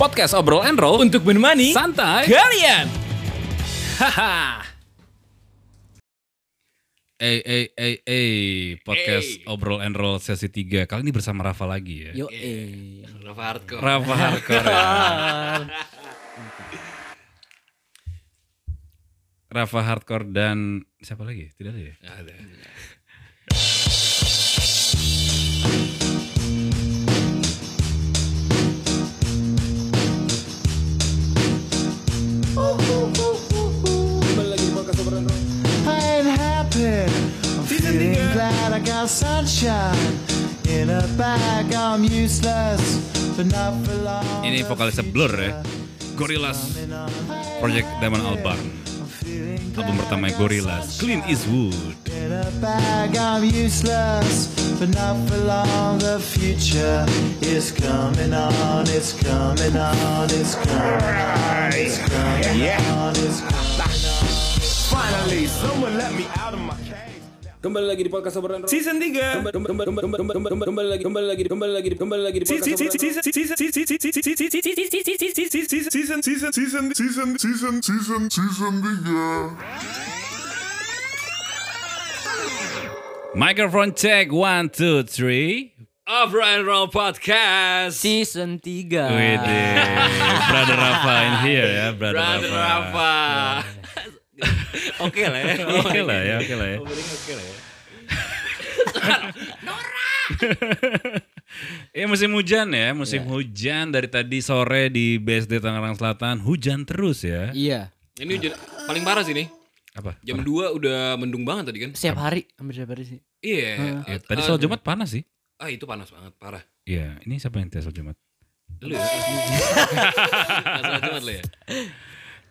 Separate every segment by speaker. Speaker 1: podcast obrol and roll
Speaker 2: untuk menemani
Speaker 1: santai.
Speaker 2: kalian.
Speaker 1: Haha. Eh eh eh eh podcast obrol and roll sesi 3. Kali ini bersama Rafa lagi ya.
Speaker 2: Yo, eh.
Speaker 3: Rafa hardcore.
Speaker 1: Rafa hardcore. ya. Rafa hardcore dan siapa lagi? Tidak ada ya?
Speaker 3: Nggak ada.
Speaker 4: I am happy. I'm feeling
Speaker 1: uh,
Speaker 4: glad I got sunshine in a bag. I'm useless, but not for long.
Speaker 1: Ini vokalisnya Blur ya. Gorillaz Project Diamond Albarn. Album pertama Gorillaz Clean is Wood.
Speaker 4: In a bag, I'm useless, but not for long. The future is coming on. It's coming on. It's coming on. It's coming on. It's coming on.
Speaker 5: Finally, someone let me out of my cage.
Speaker 6: Kembali lagi di podcast obrolan roll.
Speaker 2: Season 3.
Speaker 6: Kembali kembali- kembali kembali kembali kembali lagi kembali lagi kembali lagi kembali lagi di podcast
Speaker 2: Season
Speaker 6: obrolan roll.
Speaker 2: season season season
Speaker 5: Season, season, season, season, yeah.
Speaker 1: Microphone check one two three.
Speaker 3: Obrol and Roll Podcast.
Speaker 2: season 3.
Speaker 1: With brother Rafa in here ya, brother,
Speaker 3: Brother
Speaker 1: Rafa.
Speaker 3: Rafa. Oke lah ya.
Speaker 1: Oke lah ya, oke lah ya. Ya musim hujan ya, musim hujan dari tadi sore di BSD Tangerang Selatan hujan terus ya.
Speaker 7: Iya,
Speaker 3: Ini hujan- paling parah sih nih.
Speaker 1: Apa?
Speaker 3: Jam 2 udah mendung banget tadi kan?
Speaker 7: setiap hari hampir setiap hari sih.
Speaker 3: Iya.
Speaker 1: Ya, tadi
Speaker 3: Ah,
Speaker 1: soal Jumat panas sih.
Speaker 3: Ah itu panas banget, parah.
Speaker 1: Iya, ini siapa yang tes soal Jumat?
Speaker 3: Lu ya. Masalah Jumat lu ya.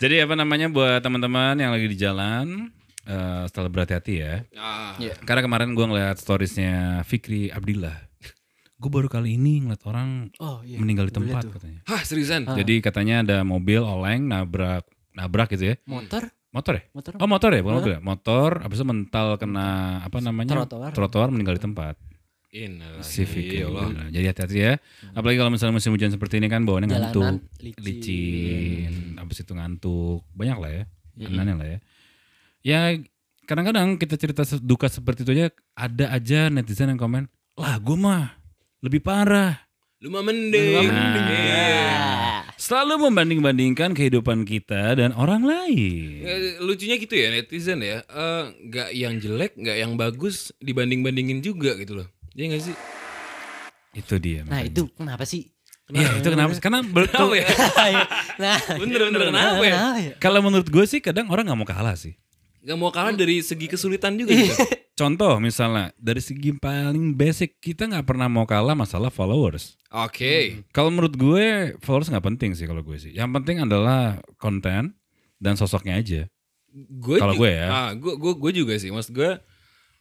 Speaker 1: Jadi apa namanya buat teman-teman yang lagi di jalan, eh setelah berhati-hati ya.
Speaker 3: Ah,
Speaker 7: Iya.
Speaker 1: Karena kemarin gue ngeliat storiesnya Fikri Abdillah. Gue baru kali ini ngeliat orang
Speaker 7: Oh iya.
Speaker 1: meninggal di
Speaker 7: Gua
Speaker 1: tempat
Speaker 7: liat tuh.
Speaker 1: katanya.
Speaker 3: Hah seriusan?
Speaker 1: Jadi katanya ada mobil oleng nabrak nabrak gitu ya.
Speaker 7: Motor,
Speaker 1: Motor ya?
Speaker 7: motor.
Speaker 1: Oh motor ya, bukan mobil ya? Motor, abis itu mental kena apa namanya?
Speaker 7: Trotoar.
Speaker 1: meninggal di tempat.
Speaker 3: Innalillahi
Speaker 1: Si Fikri
Speaker 3: wa inna ilaihi
Speaker 1: Abdillah. Iya, Jadi hati-hati ya. Apalagi kalau misalnya musim hujan seperti ini kan bawaannya
Speaker 7: Jalanan,
Speaker 1: ngantuk.
Speaker 7: licin.
Speaker 1: Licin. Abis itu ngantuk. Banyak lah ya. Aneh-aneh lah ya. Ya kadang-kadang kita cerita se- duka seperti itu aja. Ada aja netizen yang komen. Lah gue mah lebih parah.
Speaker 3: raji'un. Lu mah mending. Iya.
Speaker 7: Nah.
Speaker 1: Selalu membanding-bandingkan kehidupan kita dan orang lain.
Speaker 3: Eh, lucunya gitu ya netizen ya Eh, nggak yang jelek nggak yang bagus dibanding bandingin juga gitu loh Iya nggak sih
Speaker 1: Itu dia.
Speaker 7: Nah
Speaker 1: makanya.
Speaker 7: itu kenapa sih?
Speaker 1: Iya itu kenapa? sih? Karena ber-
Speaker 3: tahu ya
Speaker 7: nah, iya.
Speaker 3: bener bener kenapa ya
Speaker 1: kalau menurut gue sih kadang orang nggak mau kalah sih.
Speaker 3: nggak mau kalah dari segi kesulitan juga gitu.
Speaker 1: Contoh misalnya dari segi paling basic kita nggak pernah mau kalah masalah followers.
Speaker 3: oke
Speaker 1: Kalau menurut gue followers nggak penting sih kalau gue sih. Yang penting adalah konten dan sosoknya aja.
Speaker 3: gue
Speaker 1: Kalau
Speaker 3: ju-
Speaker 1: gue ya.
Speaker 3: ah gue gue gue juga sih mas gue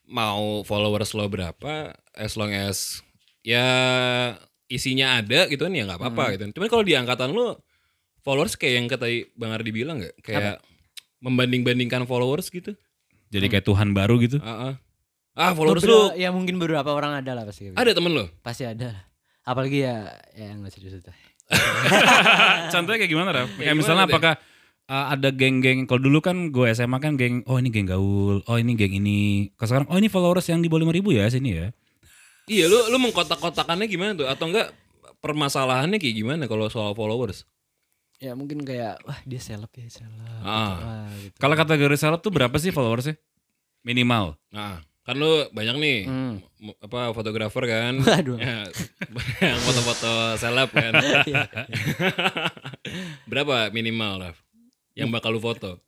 Speaker 3: mau followers lo berapa as long as ya isinya ada gitu kan ya nggak apa-apa
Speaker 1: Hmm.
Speaker 3: gitu cuman kalau di angkatan lo followers kayak yang kata bang Ardi bilang nggak kayak membanding-bandingkan followers gitu
Speaker 1: Jadi kayak Tuhan baru gitu.
Speaker 3: Ah, ah. ah followers
Speaker 7: Terus
Speaker 3: lu
Speaker 7: ya mungkin beberapa orang ada lah pasti.
Speaker 3: ada temen lo?
Speaker 7: Pasti ada. lah. Apalagi ya ya nggak serius itu.
Speaker 1: Contohnya kayak gimana Raf? Kayak
Speaker 3: gimana
Speaker 1: misalnya
Speaker 3: tuh ya?
Speaker 1: apakah uh, ada geng-geng kalau dulu kan gue SMA kan geng oh ini geng gaul, oh ini geng ini. Kalau sekarang oh ini followers yang di bawah 5000 ya sini ya.
Speaker 3: Iya, lu lu mengkotak-kotakannya gimana tuh? Atau enggak permasalahannya kayak gimana kalau soal followers?
Speaker 7: Ya mungkin kayak wah dia seleb ya seleb.
Speaker 3: Ah.
Speaker 7: Wah, gitu.
Speaker 1: Kalau kategori seleb tuh berapa sih followersnya? Minimal.
Speaker 3: Nah, kan lu banyak nih
Speaker 7: Hmm.
Speaker 3: m- apa fotografer kan?
Speaker 7: Waduh.
Speaker 1: Iya.
Speaker 3: Ya, yang foto-foto seleb kan. Berapa minimal, Raf? Yang bakal lu foto?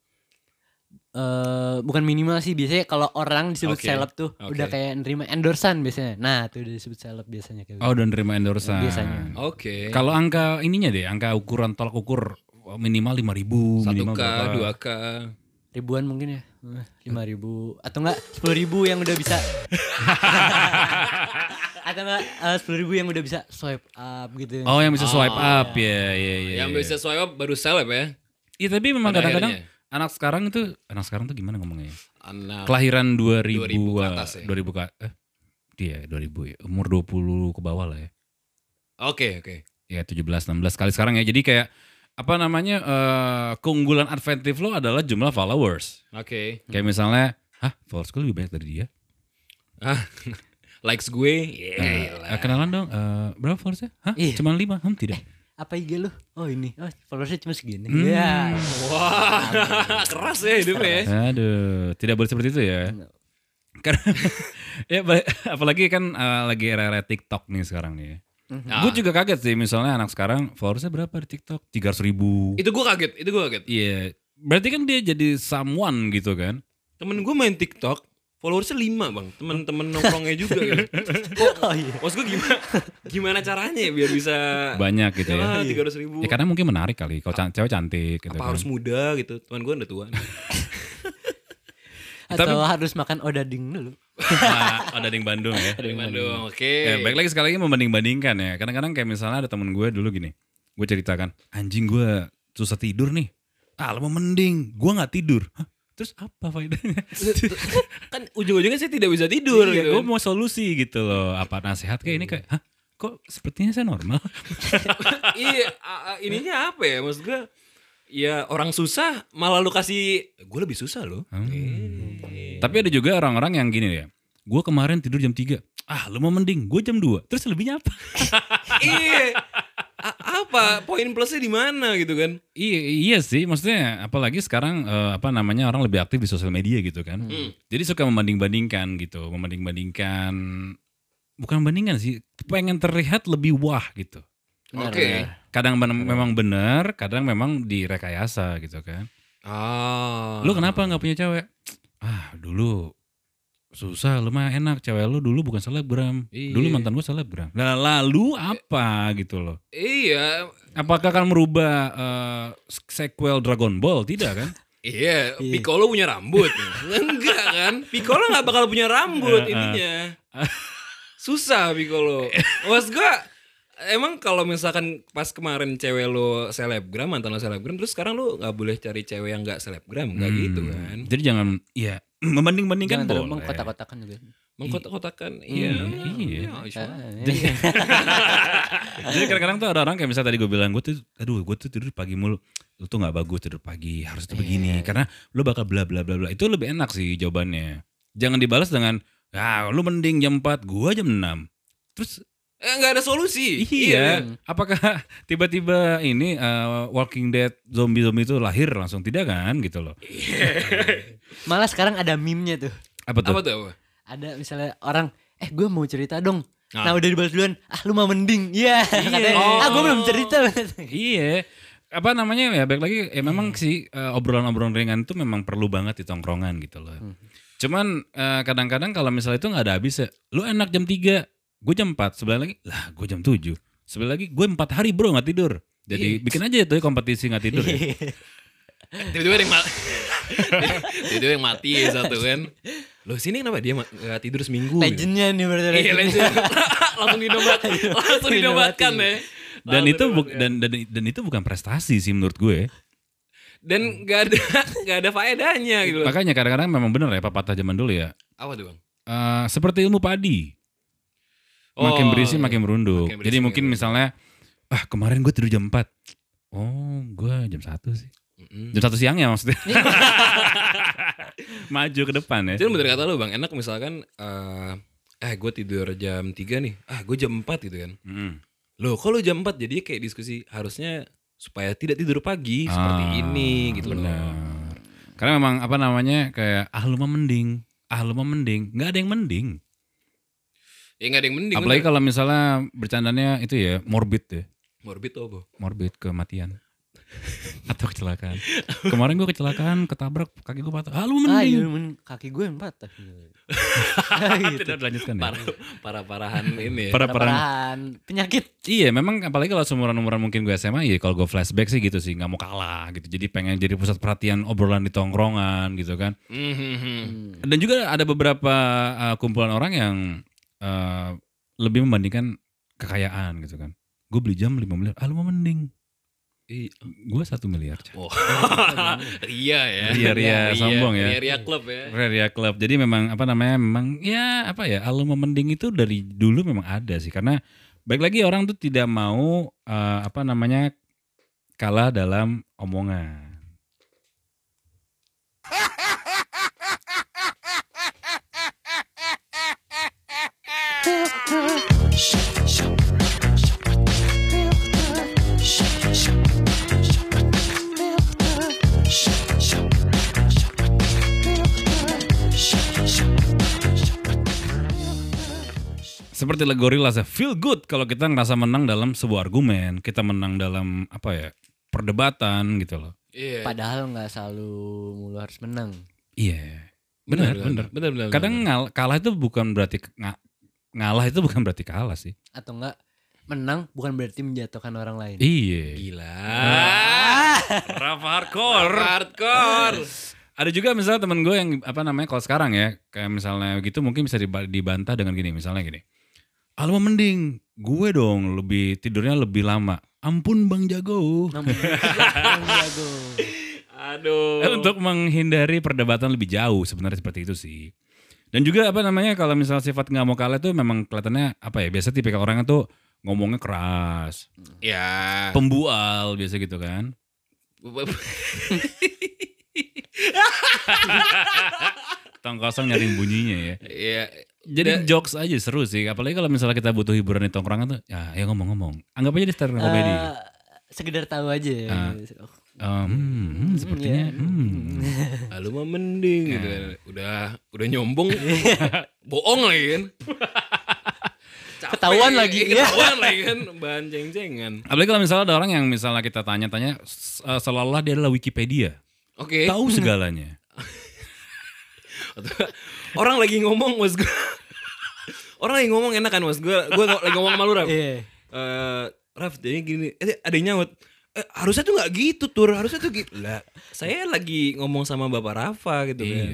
Speaker 7: Eh, bukan minimal sih biasanya kalau orang disebut
Speaker 3: Oke.
Speaker 7: seleb tuh
Speaker 3: Oke.
Speaker 7: udah kayak nerima endorsan biasanya. Nah, tuh udah disebut seleb biasanya kayak gitu.
Speaker 1: Oh, dan terima endorsan.
Speaker 7: Biasanya.
Speaker 3: Oke.
Speaker 1: Kalau angka ininya deh, angka ukuran tolak ukur eh, minimal 5000,
Speaker 3: satu
Speaker 1: minimal
Speaker 3: k
Speaker 1: berapa?
Speaker 3: 2K.
Speaker 7: ribuan mungkin ya Eh, lima ribu atau enggak sepuluh ribu yang udah bisa atau enggak eh, sepuluh ribu yang udah bisa swipe up gitu
Speaker 1: Oh, yang bisa swipe up ya, ya, ya.
Speaker 3: Ah. Yang
Speaker 1: ya.
Speaker 3: bisa swipe up baru seleb ya.
Speaker 1: Iya, tapi memang
Speaker 3: Pada
Speaker 1: kadang-kadang
Speaker 3: akhirnya.
Speaker 1: anak sekarang itu anak sekarang tuh gimana ngomongnya? ya?
Speaker 3: Anak.
Speaker 1: Kelahiran 2000 eh,
Speaker 3: 2000 Ah. ke
Speaker 1: iya,
Speaker 3: atas ya?
Speaker 1: 2000 ke eh, dia 2000 ya, umur 20 ke bawah lah ya.
Speaker 3: Oke, oke.
Speaker 1: ya 17 16 kali sekarang ya. Jadi kayak apa namanya eh, keunggulan advantage lo adalah jumlah followers.
Speaker 3: Oke.
Speaker 1: Kayak misalnya, hah, followers gue lebih banyak dari dia.
Speaker 3: Ah, likes gue. Yeah,
Speaker 1: Eh, kenalan dong, eh, berapa followersnya? Hah,
Speaker 7: Iya.
Speaker 1: cuman 5? Hmm, tidak.
Speaker 7: Apa IG lu? Oh ini. Oh, followersnya cuma segini. Ya.
Speaker 3: Keras ya hidupnya ya.
Speaker 1: Aduh, tidak boleh seperti itu ya. Karena ya balik- apalagi kan eh, lagi era-era TikTok nih sekarang nih.
Speaker 3: Mhm.
Speaker 1: Gue juga kaget sih misalnya anak sekarang followersnya berapa di TikTok? 300 ribu.
Speaker 3: Itu gue kaget, itu gue kaget.
Speaker 1: Iya, berarti kan dia jadi someone gitu kan?
Speaker 3: Temen gue main TikTok, followersnya 5 bang. Temen-temen nongkrongnya juga gitu. Kok,
Speaker 7: Oh iya.
Speaker 3: maksud gue gimana, gimana caranya ya biar bisa
Speaker 1: Banyak gitu ya.
Speaker 3: ya, 300 ribu.
Speaker 1: Ya karena mungkin menarik kali kalau can- cewek cantik gitu kan.
Speaker 3: apa harus muda gitu teman gue udah tua
Speaker 7: Atau harus makan odading dulu.
Speaker 1: Nah, ada yang Bandung ya.
Speaker 3: dari Bandung oke
Speaker 1: Ya, baik lagi sekali lagi membanding-bandingkan ya. Kadang-kadang kayak misalnya ada temen gue dulu gini. Gue ceritakan, anjing gue susah tidur nih. Ah, lu mau mending. Gue gak tidur. Hah? Terus apa faedahnya?
Speaker 3: kan ujung-ujungnya saya tidak bisa tidur
Speaker 1: Iya,
Speaker 3: gitu
Speaker 1: gue mau solusi gitu loh. Apa nasihat kayak ini kayak, hah? Kok sepertinya saya normal?
Speaker 3: iya a- a- ininya apa ya maksud gue ya orang susah malah lu kasih gue lebih susah loh
Speaker 1: Hmm.
Speaker 3: Eh,
Speaker 1: Tapi ada juga orang-orang yang gini ya. Gue kemarin tidur jam 3. Ah, lu mau mending. Gue jam 2. Terus lebihnya apa?
Speaker 3: iya A- apa poin plusnya di mana gitu kan
Speaker 1: Iya, iya sih, maksudnya apalagi sekarang eh, apa namanya orang lebih aktif di sosial media gitu kan.
Speaker 3: Hmm.
Speaker 1: Jadi suka membanding-bandingkan gitu, membanding-bandingkan bukan bandingan sih, pengen terlihat lebih wah gitu.
Speaker 3: oke
Speaker 1: Kadang
Speaker 3: Iya.
Speaker 1: men- memang benar, kadang memang direkayasa gitu kan.
Speaker 3: ah
Speaker 1: Lu kenapa nggak punya cewek? Ah, dulu susah lu mah enak cewek lu dulu bukan selebgram. Dulu
Speaker 3: Iya.
Speaker 1: mantan gua selebgram. Lah, lalu apa gitu loh.
Speaker 3: iya
Speaker 1: Apakah akan merubah eh, sequel Dragon Ball? Tidak kan?
Speaker 3: Iya, Piccolo punya rambut. Enggak kan? Piccolo nggak bakal punya
Speaker 1: Iya,
Speaker 3: rambut intinya. Susah Piccolo. Mas gua emang kalau misalkan pas kemarin cewek lo selebgram, mantan lo selebgram, terus sekarang lo nggak boleh cari cewek yang nggak selebgram, nggak
Speaker 1: Hmm.
Speaker 3: gitu kan?
Speaker 1: Jadi jangan ya membanding-bandingkan
Speaker 7: Jangan terlalu
Speaker 1: boleh.
Speaker 7: mengkotak-kotakan juga.
Speaker 3: Mengkotak-kotakan. Iya.
Speaker 1: Hmm. iya.
Speaker 3: Iya.
Speaker 7: Eh,
Speaker 1: Jadi kadang-kadang tuh ada orang kayak misalnya tadi gue bilang gue tuh aduh gue tuh tidur pagi mulu. Lu tuh nggak bagus tidur pagi, harus tuh begini karena lu bakal bla bla bla bla. Itu lebih enak sih jawabannya. Jangan dibalas dengan ah lu mending jam 4, gua jam 6. Terus
Speaker 3: Eh, nggak ada solusi.
Speaker 1: iya, apakah tiba-tiba ini eh, Walking Dead zombie-zombie itu lahir langsung tidak kan gitu loh.
Speaker 7: Malah sekarang ada meme-nya tuh.
Speaker 1: Apa tuh?
Speaker 3: Apa tuh? Apa?
Speaker 7: Ada misalnya orang, eh gue mau cerita dong. Nah udah dibalas duluan, ah lu mah mending. Iya. Katanya, ah gue belum cerita.
Speaker 1: Iya. Apa namanya ya baik lagi ya memang sih eh, obrolan-obrolan ringan itu memang perlu banget di tongkrongan gitu loh. Cuman eh, kadang-kadang kalau misalnya itu nggak ada habisnya. Lu enak jam 3, gue jam 4, sebelah lagi lah gue jam 7. Sebelah lagi gue 4 hari bro nggak tidur. Jadi bikin aja itu ya kompetisi nggak tidur
Speaker 7: Iya.
Speaker 1: ya.
Speaker 3: Tiba-tiba ada yang mati. Tiba-tiba ada yang mati satu kan. Lo sini kenapa dia ma- nggak tidur seminggu?
Speaker 1: Nah,
Speaker 3: gitu?
Speaker 7: Legendnya nih berarti.
Speaker 3: Iya
Speaker 7: legend.
Speaker 3: legend. langsung dinobat, langsung dinobatkan ya.
Speaker 1: Dan itu
Speaker 3: Langsung dinobatkan.
Speaker 1: buk- dan, dan dan itu bukan prestasi sih menurut gue.
Speaker 3: dan nggak ada nggak ada faedahnya gitu. loh.
Speaker 1: Makanya kadang-kadang memang bener ya pepatah zaman dulu ya.
Speaker 3: Apa tuh bang?
Speaker 1: Eh, seperti ilmu padi. makin
Speaker 3: Oh,
Speaker 1: berisi
Speaker 3: iya.
Speaker 1: makin merunduk.
Speaker 3: Makin berisi,
Speaker 1: Jadi
Speaker 3: makin
Speaker 1: mungkin
Speaker 3: merunduk.
Speaker 1: misalnya ah kemarin gue tidur jam 4. Oh, gue jam 1 sih.
Speaker 3: Mm-mm. Iya.
Speaker 1: Jam 1 siang ya maksudnya. Maju ke depan ya.
Speaker 3: Jadi bener kata lo bang, enak misalkan eh, eh gue tidur jam 3 nih, ah gue jam 4 gitu kan.
Speaker 1: Mm.
Speaker 3: Loh kok lo jam 4 jadi kayak diskusi harusnya supaya tidak tidur pagi seperti
Speaker 1: Ah,
Speaker 3: ini gitu loh.
Speaker 1: Bener. Karena memang apa namanya kayak ah lu mah mending, ah lu mah mending, nggak ada yang mending.
Speaker 3: Ya nggak ada yang mending.
Speaker 1: Apalagi
Speaker 3: bener.
Speaker 1: kalau misalnya bercandanya itu ya morbid ya.
Speaker 3: morbid tuh apa?
Speaker 1: morbid kematian atau kecelakaan. Kemarin gue kecelakaan, ketabrak kaki gue patah. Ah lu
Speaker 7: Ah iya,
Speaker 1: mending.
Speaker 7: men- kaki gue yang patah.
Speaker 1: Tidak dilanjutkan ya.
Speaker 3: Iya, Parah parah parahan ini. Ya.
Speaker 1: Para perang.
Speaker 7: Parahan penyakit.
Speaker 1: Iya, memang apalagi kalau seumuran-umuran mungkin gue SMA ya kalau gue flashback sih gitu sih, nggak mau kalah gitu. Jadi pengen jadi pusat perhatian obrolan di tongkrongan gitu kan.
Speaker 3: Mhm.
Speaker 7: Hmm.
Speaker 1: Dan juga ada beberapa uh, kumpulan orang yang uh, lebih membandingkan kekayaan gitu kan. Gue beli jam 5 miliar, ah lu mau mending.
Speaker 3: Ih,
Speaker 1: Gue satu miliar. Cah.
Speaker 3: Oh. Ria ya.
Speaker 1: Ria, Ria, sombong ya.
Speaker 3: Ria, Ria Club ya.
Speaker 1: Ria Club. Jadi memang apa namanya memang ya apa ya alumni mending itu dari dulu memang ada sih karena baik lagi orang tuh tidak mau eh, apa namanya kalah dalam omongan. Seperti lagu Gorillaz ya, feel good kalau kita ngerasa menang dalam sebuah argumen, kita menang dalam apa ya perdebatan gitu loh.
Speaker 3: Iya.
Speaker 7: Padahal nggak selalu mulu harus menang.
Speaker 1: Iya, benar benar.
Speaker 3: Benar benar.
Speaker 1: Kadang ngal- kalah itu bukan berarti ke- nga- ngalah itu bukan berarti kalah sih.
Speaker 7: Atau enggak menang bukan berarti menjatuhkan orang lain.
Speaker 1: Iya.
Speaker 3: gila.
Speaker 7: Nah.
Speaker 1: Rap hardcore.
Speaker 3: Hardcore.
Speaker 1: Ada juga misalnya temen gue yang apa namanya kalau sekarang ya kayak misalnya gitu mungkin bisa diba- dibantah dengan gini misalnya gini. Alma mending gue dong lebih tidurnya lebih lama. Ampun Bang Jago.
Speaker 7: Namun orang jago.
Speaker 3: Aduh.
Speaker 1: Eh, Untuk menghindari perdebatan lebih jauh sebenarnya seperti itu sih. Dan juga apa namanya kalau misalnya sifat nggak mau kalah itu memang kelihatannya apa ya biasa tipikal orangnya tuh ngomongnya keras,
Speaker 3: Ya.
Speaker 1: pembual biasa gitu kan. Tong kosong nyari bunyinya ya.
Speaker 3: Iya.
Speaker 1: Jadi jokes aja seru sih, apalagi kalau misalnya kita butuh hiburan di tongkrongan tuh, ya ayo ngomong-ngomong. Anggap aja di stand up comedy.
Speaker 7: Eh, sekedar tahu aja. ya. Oh,
Speaker 1: Eh, hmm, hmm, sepertinya hmm.
Speaker 3: Ah, lu mah mending gitu.
Speaker 7: Nah.
Speaker 3: Udah udah nyombong. Bohong lagi kan. Capek,
Speaker 7: Ketahuan lagi, ya.
Speaker 3: Ketahuan lagi kan bahan ceng-cengan.
Speaker 1: Apalagi kalau misalnya ada orang yang misalnya kita tanya-tanya s- eh, seolah-olah dia adalah Wikipedia,
Speaker 3: Oke.
Speaker 1: tahu segalanya.
Speaker 3: Orang lagi ngomong mas gue. Orang lagi ngomong enak kan mas gue. Gue lagi ngomong sama lu Raf.
Speaker 7: Iya.
Speaker 3: Eh, Raf jadi gini. Eh, ada yang nyaut. "Eh, harusnya tuh nggak gitu tur. Harusnya tuh gitu. Lah, saya lagi ngomong sama bapak Rafa gitu kan.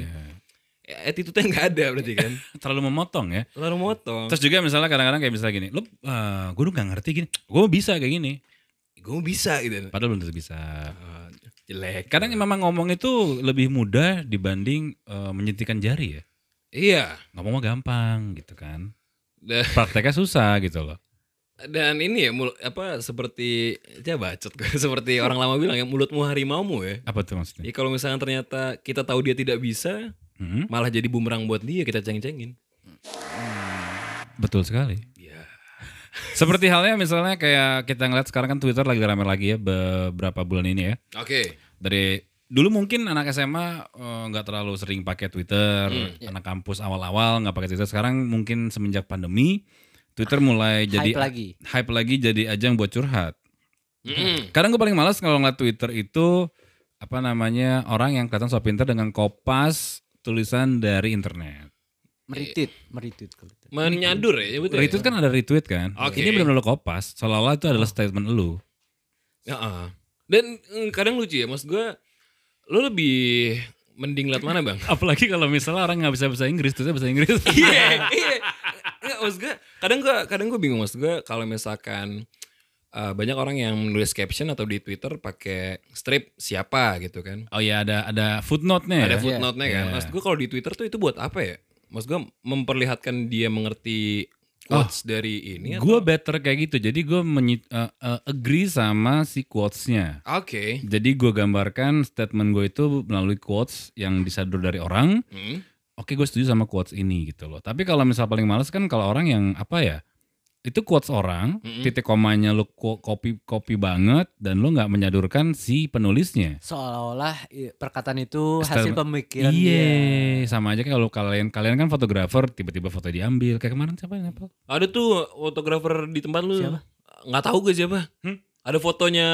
Speaker 3: Ya, attitude-nya nggak ada berarti kan.
Speaker 1: Terlalu memotong ya.
Speaker 3: Lalu motong.
Speaker 1: Terus juga misalnya kadang-kadang kayak misalnya gini, lo eh, gue tuh gak ngerti gini, gue bisa kayak gini.
Speaker 3: Gue bisa gitu.
Speaker 1: Padahal belum tentu bisa.
Speaker 3: Ah, jelek.
Speaker 1: Kadang memang ngomong itu lebih mudah dibanding eh, menyentikan jari ya.
Speaker 3: Iya.
Speaker 1: Ngomong mah gampang gitu kan.
Speaker 3: Da-
Speaker 1: Prakteknya susah gitu loh.
Speaker 3: Dan ini ya mul- apa seperti ya bacot gue. seperti orang lama bilang ya mulutmu harimaumu ya.
Speaker 1: Apa tuh maksudnya?
Speaker 3: Ya kalau misalnya ternyata kita tahu dia tidak bisa,
Speaker 1: Hmm,
Speaker 3: malah jadi bumerang buat dia kita ceng-cengin.
Speaker 1: betul sekali.
Speaker 3: Iya.
Speaker 1: Seperti halnya misalnya kayak kita ngeliat sekarang kan Twitter lagi rame lagi ya beberapa bulan ini ya.
Speaker 3: Oke.
Speaker 1: Dari dulu mungkin anak SMA eh, nggak terlalu sering pakai Twitter, anak kampus awal-awal nggak pakai Twitter. Sekarang mungkin semenjak pandemi Twitter mulai jadi
Speaker 7: lagi.
Speaker 1: hype lagi jadi ajang buat curhat.
Speaker 3: Mm-mm.
Speaker 1: Kadang gue paling malas kalau ngeliat Twitter itu apa namanya orang yang kelihatan so pinter dengan kopas tulisan dari internet.
Speaker 7: Meritut, meritut kalau gitu. itu.
Speaker 3: Menyadur ya, betul.
Speaker 1: Retweet kan ada retweet kan.
Speaker 3: Oke.
Speaker 1: Ini benar-benar lo kopas. Seolah-olah itu adalah statement lu.
Speaker 3: Ya, ah. Dan mm, kadang lucu ya, maksud gue lu lebih mending liat mana, Bang?
Speaker 1: Apalagi kalau misalnya orang nggak bisa bahasa Inggris, terus bahasa Inggris.
Speaker 3: Iya, iya. Nggak, maksud gue, kadang gue kadang gue bingung maksud gue kalau misalkan eh, banyak orang yang menulis caption atau di Twitter pakai strip siapa gitu kan.
Speaker 1: oh ya ada ada footnote-nya. ya.
Speaker 3: Ada footnote-nya kan. Maksud gue kalau di Twitter tuh itu buat apa ya? Maksud gue memperlihatkan dia mengerti quotes dari ini atau-
Speaker 1: Gue better kayak gitu. Jadi gue menyi- eh, eh, agree sama si quotes-nya.
Speaker 3: Oke.
Speaker 1: Jadi gue gambarkan statement gue itu melalui quotes yang disadur dari orang.
Speaker 3: Hmm.
Speaker 1: Oke gue setuju sama quotes ini gitu loh. Tapi kalau misal paling males kan kalau orang yang apa ya. Itu quotes orang, titik komanya lu ko- copy copy banget dan lu nggak menyadurkan si penulisnya.
Speaker 7: Seolah-olah i- perkataan itu hasil
Speaker 1: Statement-
Speaker 7: pemikiran dia.
Speaker 1: Iya, sama aja kayak kalau kalian kalian kan fotografer tiba-tiba foto diambil kayak kemarin siapa yang apa?
Speaker 3: Ada tuh fotografer di tempat lu.
Speaker 7: Siapa?
Speaker 3: Nggak tahu gue siapa. Ada fotonya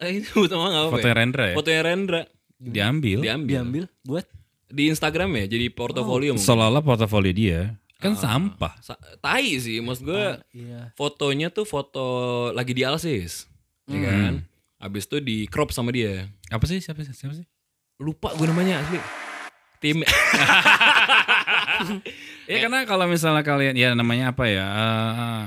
Speaker 3: eh, itu sama nggak apa-apa.
Speaker 1: Foto
Speaker 3: ya?
Speaker 1: Rendra ya.
Speaker 3: Fotonya Rendra
Speaker 1: diambil.
Speaker 3: diambil.
Speaker 7: Diambil buat
Speaker 3: Di Instagram ya jadi portofolio mungkin.
Speaker 1: Seolah-olah portofolio dia kan sampah.
Speaker 3: Sa- tai sih maksud gue
Speaker 7: iya.
Speaker 3: fotonya tuh foto lagi di Alsis ya kan abis itu di crop sama dia
Speaker 1: Apa sih siapa sih siapa sih?
Speaker 3: lupa gue namanya asli tim
Speaker 1: Ya karena kalau misalnya kalian ya namanya apa ya? eh,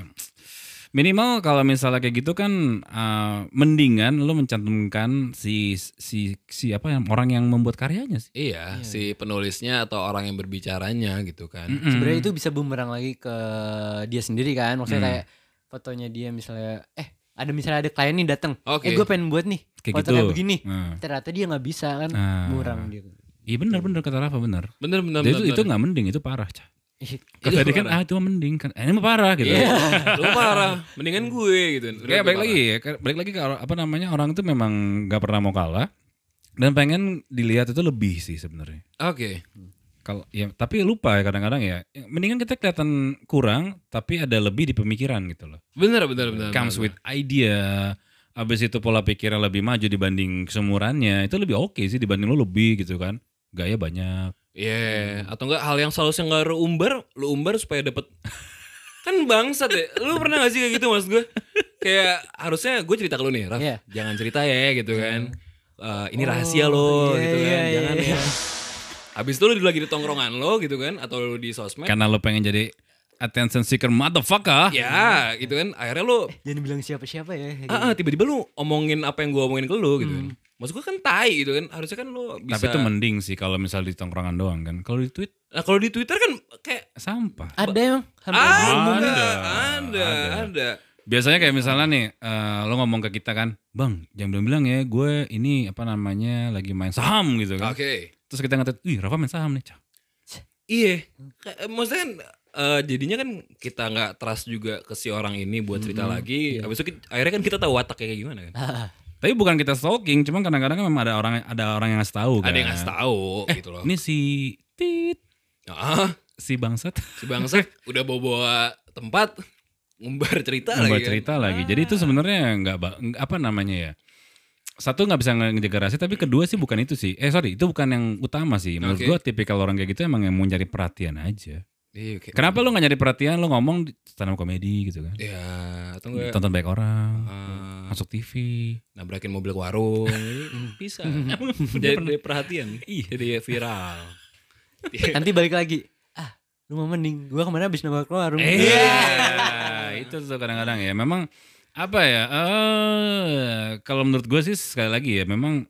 Speaker 1: minimal kalau misalnya kayak gitu kan eh, mendingan lu mencantumkan si si si apa yang orang yang membuat karyanya sih.
Speaker 3: iya si penulisnya atau orang yang berbicaranya gitu kan
Speaker 7: Sebenarnya itu bisa bumerang lagi ke dia sendiri kan. Maksudnya kayak fotonya dia misalnya eh ada misalnya ada klien nih datang eh
Speaker 3: Oke.
Speaker 7: gue pengen buat nih
Speaker 1: Kayak
Speaker 7: foto
Speaker 1: gitu.
Speaker 7: kayak begini
Speaker 1: Nah.
Speaker 7: ternyata dia nggak bisa kan
Speaker 1: Nah.
Speaker 7: murang dia
Speaker 1: Iya benar benar kata Rafa benar.
Speaker 3: Bener bener.
Speaker 1: Dan itu
Speaker 3: bener,
Speaker 1: itu nggak mending itu parah cah.
Speaker 7: Ih,
Speaker 1: Kalau tadi kan ah itu mah mending kan, eh, ini mah parah gitu.
Speaker 3: Iya. Lu parah. Mendingan gue gitu. Udah,
Speaker 1: Kayak
Speaker 3: gue
Speaker 1: balik
Speaker 3: parah.
Speaker 1: lagi ya, kayak balik lagi ke or- apa namanya orang itu memang nggak pernah mau kalah dan pengen dilihat itu lebih sih sebenarnya.
Speaker 3: Oke.
Speaker 1: Kalau ya tapi lupa ya kadang-kadang ya. Mendingan kita kelihatan kurang tapi ada lebih di pemikiran gitu loh.
Speaker 3: Bener bener bener.
Speaker 1: Comes with
Speaker 3: bener.
Speaker 1: idea. Abis itu pola pikirnya lebih maju dibanding semurannya itu lebih oke sih dibanding lu lebih gitu kan. Gaya banyak.
Speaker 3: Iya, atau enggak hal yang seharusnya enggak lu umbar, lu umbar supaya dapet kan bangsat ya. Lu pernah gak sih kayak gitu mas gue? Kayak harusnya gue cerita ke lu nih, Raf,
Speaker 7: Iya.
Speaker 3: jangan cerita ya gitu kan. Eh, ini rahasia lo
Speaker 7: iya,
Speaker 3: gitu kan,
Speaker 7: iya,
Speaker 3: jangan
Speaker 7: iya.
Speaker 3: ya. Habis itu lu lagi di tongkrongan lo gitu kan, atau lu di sosmed.
Speaker 1: Karena lu pengen jadi attention seeker motherfucker.
Speaker 3: Ya gitu kan, akhirnya lu
Speaker 7: jangan bilang siapa siapa ya
Speaker 3: ah, ah, tiba-tiba lu omongin apa yang gue omongin ke lu gitu kan. Maksud gue kan tai gitu kan, harusnya kan lu bisa.
Speaker 1: Tapi itu mending sih kalau misal di tongkrongan doang kan. Kalau di tweet
Speaker 3: nah, kalau di Twitter kan kayak
Speaker 1: sampah.
Speaker 7: ada emang hampir
Speaker 3: ada,
Speaker 1: Ada,
Speaker 3: ada, Hmm. ada.
Speaker 1: Biasanya kayak misalnya nih, eh, lo ngomong ke kita kan, bang, jangan bilang-bilang ya, gue ini apa namanya lagi main saham gitu
Speaker 3: Oke.
Speaker 1: kan. Terus kita ngetet, wih Rafa main saham nih, Cah."
Speaker 3: Iya, Kayak, eh, maksudnya kan eh, jadinya kan kita nggak trust juga ke si orang ini buat cerita lagi. Habis itu ki- akhirnya kan kita tahu wataknya kayak gimana kan.
Speaker 1: Tapi bukan kita stalking, cuman kadang-kadang kan memang ada orang ada orang yang ngasih tahu kan.
Speaker 3: Ada yang ngasih tahu gitu loh.
Speaker 1: Ini si tit,
Speaker 3: Ah,
Speaker 1: si bangsat
Speaker 3: si bangsa udah bawa-bawa tempat ngumbar cerita
Speaker 1: ngebawa
Speaker 3: lagi. kan.
Speaker 1: cerita lagi. Jadi itu sebenarnya nggak ba- nggak- apa namanya ya? Satu nggak bisa nge- ngejaga rahasia, tapi kedua sih bukan itu sih. Eh sorry, itu bukan yang utama sih. Menurut
Speaker 3: Oke.
Speaker 1: gue tipikal orang kayak gitu emang yang mau nyari perhatian aja.
Speaker 3: Kan? Iya, oke.
Speaker 1: Kenapa lo nggak nyari perhatian? Lo ngomong di stand up komedi gitu kan?
Speaker 3: Ya, atau enggak
Speaker 1: Tonton baik orang,
Speaker 3: eh,
Speaker 1: masuk TV.
Speaker 3: nabrakin mobil ke warung "Hmm, bisa jadi, jadi perhatian
Speaker 1: Iya.
Speaker 3: jadi viral
Speaker 7: nanti balik lagi ah lu mau mending gua kemarin habis nambah keluar
Speaker 1: Iya, itu tuh kadang-kadang ya. Memang apa ya? eh kalau menurut gue sih sekali lagi ya, memang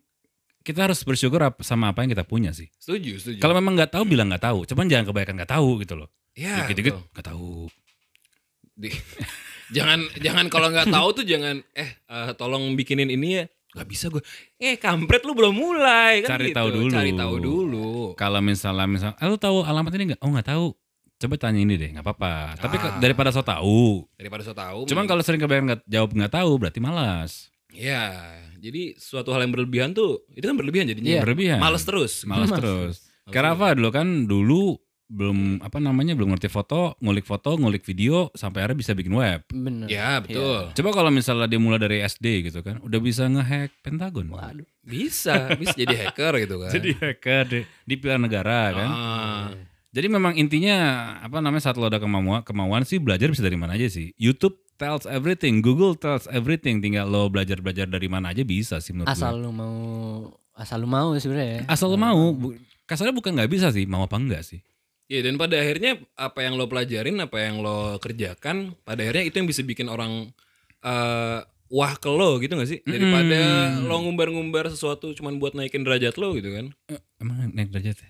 Speaker 1: kita harus bersyukur ap- sama apa yang kita punya sih.
Speaker 3: setuju setuju
Speaker 1: Kalau memang nggak tahu bilang nggak tahu, cuman jangan kebanyakan nggak tahu gitu loh.
Speaker 3: ya
Speaker 1: Dikit-dikit
Speaker 3: betul.
Speaker 1: nggak tahu.
Speaker 3: Di- jangan jangan kalau nggak tahu tuh jangan eh eh, tolong bikinin ini ya nggak bisa gue eh kampret lu belum mulai kan
Speaker 1: Cari
Speaker 3: gitu.
Speaker 1: tahu dulu.
Speaker 3: cari tahu dulu
Speaker 1: Kalau misalnya misal, eh, lu tahu alamat ini nggak? Oh nggak tahu. Coba tanya ini deh, nggak apa-apa. Tapi ke-
Speaker 3: Ah. Iya.
Speaker 1: daripada so tahu.
Speaker 3: daripada so tahu
Speaker 1: Cuman
Speaker 3: mending-
Speaker 1: kalau sering kebanyakan nggak- jawab nggak tahu, berarti malas.
Speaker 3: ya jadi suatu hal yang berlebihan tuh itu kan berlebihan jadinya
Speaker 1: Iya, Berlebihan.
Speaker 3: males terus
Speaker 1: Malas terus. Karafa dulu kan dulu belum apa namanya belum ngerti foto, ngulik foto, ngulik video sampai akhirnya bisa bikin web.
Speaker 7: bener
Speaker 3: ya betul
Speaker 1: Coba kalau misalnya dia mulai dari SD gitu kan, udah bisa ngehack Pentagon. Waduh.
Speaker 3: bisa bisa jadi hacker gitu kan
Speaker 1: Jadi hacker di, di pilar negara kan.
Speaker 3: Ah,
Speaker 1: Jadi memang intinya apa namanya saat lo ada kemauan kemauan sih belajar bisa dari mana aja sih. YouTube tells everything, Google tells everything. Tinggal lo belajar belajar dari mana aja bisa sih menurut gue.
Speaker 7: asal lu mau asal lu mau sebenarnya ya.
Speaker 1: asal lo mau. Bu- Kasarnya bukan nggak bisa sih, mau apa enggak sih?
Speaker 3: ya dan pada akhirnya apa yang lo pelajarin apa yang lo kerjakan pada akhirnya itu yang bisa bikin orang eh, wah ke lo gitu gak sih daripada lo ngumbar-ngumbar sesuatu cuman buat naikin derajat lo gitu kan
Speaker 1: Eh, Emang naik derajat? ya?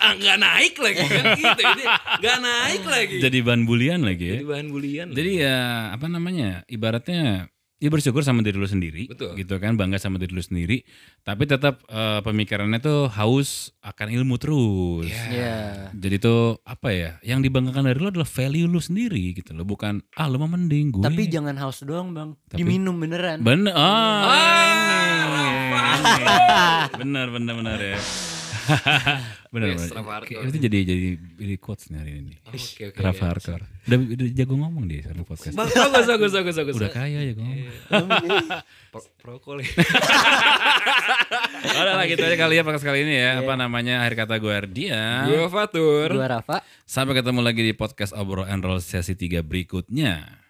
Speaker 3: Ah, nggak naik lagi kan gitu ini nggak naik lagi
Speaker 1: Jadi bahan bulian lagi ya.
Speaker 3: jadi bahan bulian
Speaker 1: Jadi ya apa namanya? Ibaratnya ya bersyukur sama diri lu sendiri,
Speaker 3: Betul.
Speaker 1: gitu kan bangga sama diri lu sendiri. Tapi tetap eh, pemikirannya tuh haus akan ilmu terus.
Speaker 7: Iya.
Speaker 1: Jadi tuh apa ya? Yang dibanggakan dari lu adalah value lu sendiri gitu loh, bukan ah lu mah mending gue.
Speaker 7: tapi jangan haus doang bang
Speaker 1: Tapi-
Speaker 7: diminum beneran
Speaker 1: bener ah, ini, ini. bener bener bener ya. bener
Speaker 3: Yes,
Speaker 1: bener.
Speaker 3: Rafa Harkor.
Speaker 1: Oke, Itu jadi jadi jadi quotes nih hari ini.
Speaker 3: oke oke
Speaker 1: Rafa Harkor. Udah, udah jago ngomong dia sama podcast.
Speaker 3: Ba- bagus bagus bagus bagus
Speaker 1: Udah kaya jago ngomong.
Speaker 3: Pro- prokol ya.
Speaker 1: Udah lah gitu aja kali ya podcast kali ini ya. Apa namanya akhir kata gue Ardian.
Speaker 3: gue fatur
Speaker 7: gua Rafa
Speaker 1: Sampai ketemu lagi di podcast Obrol and Roll sesi 3 berikutnya.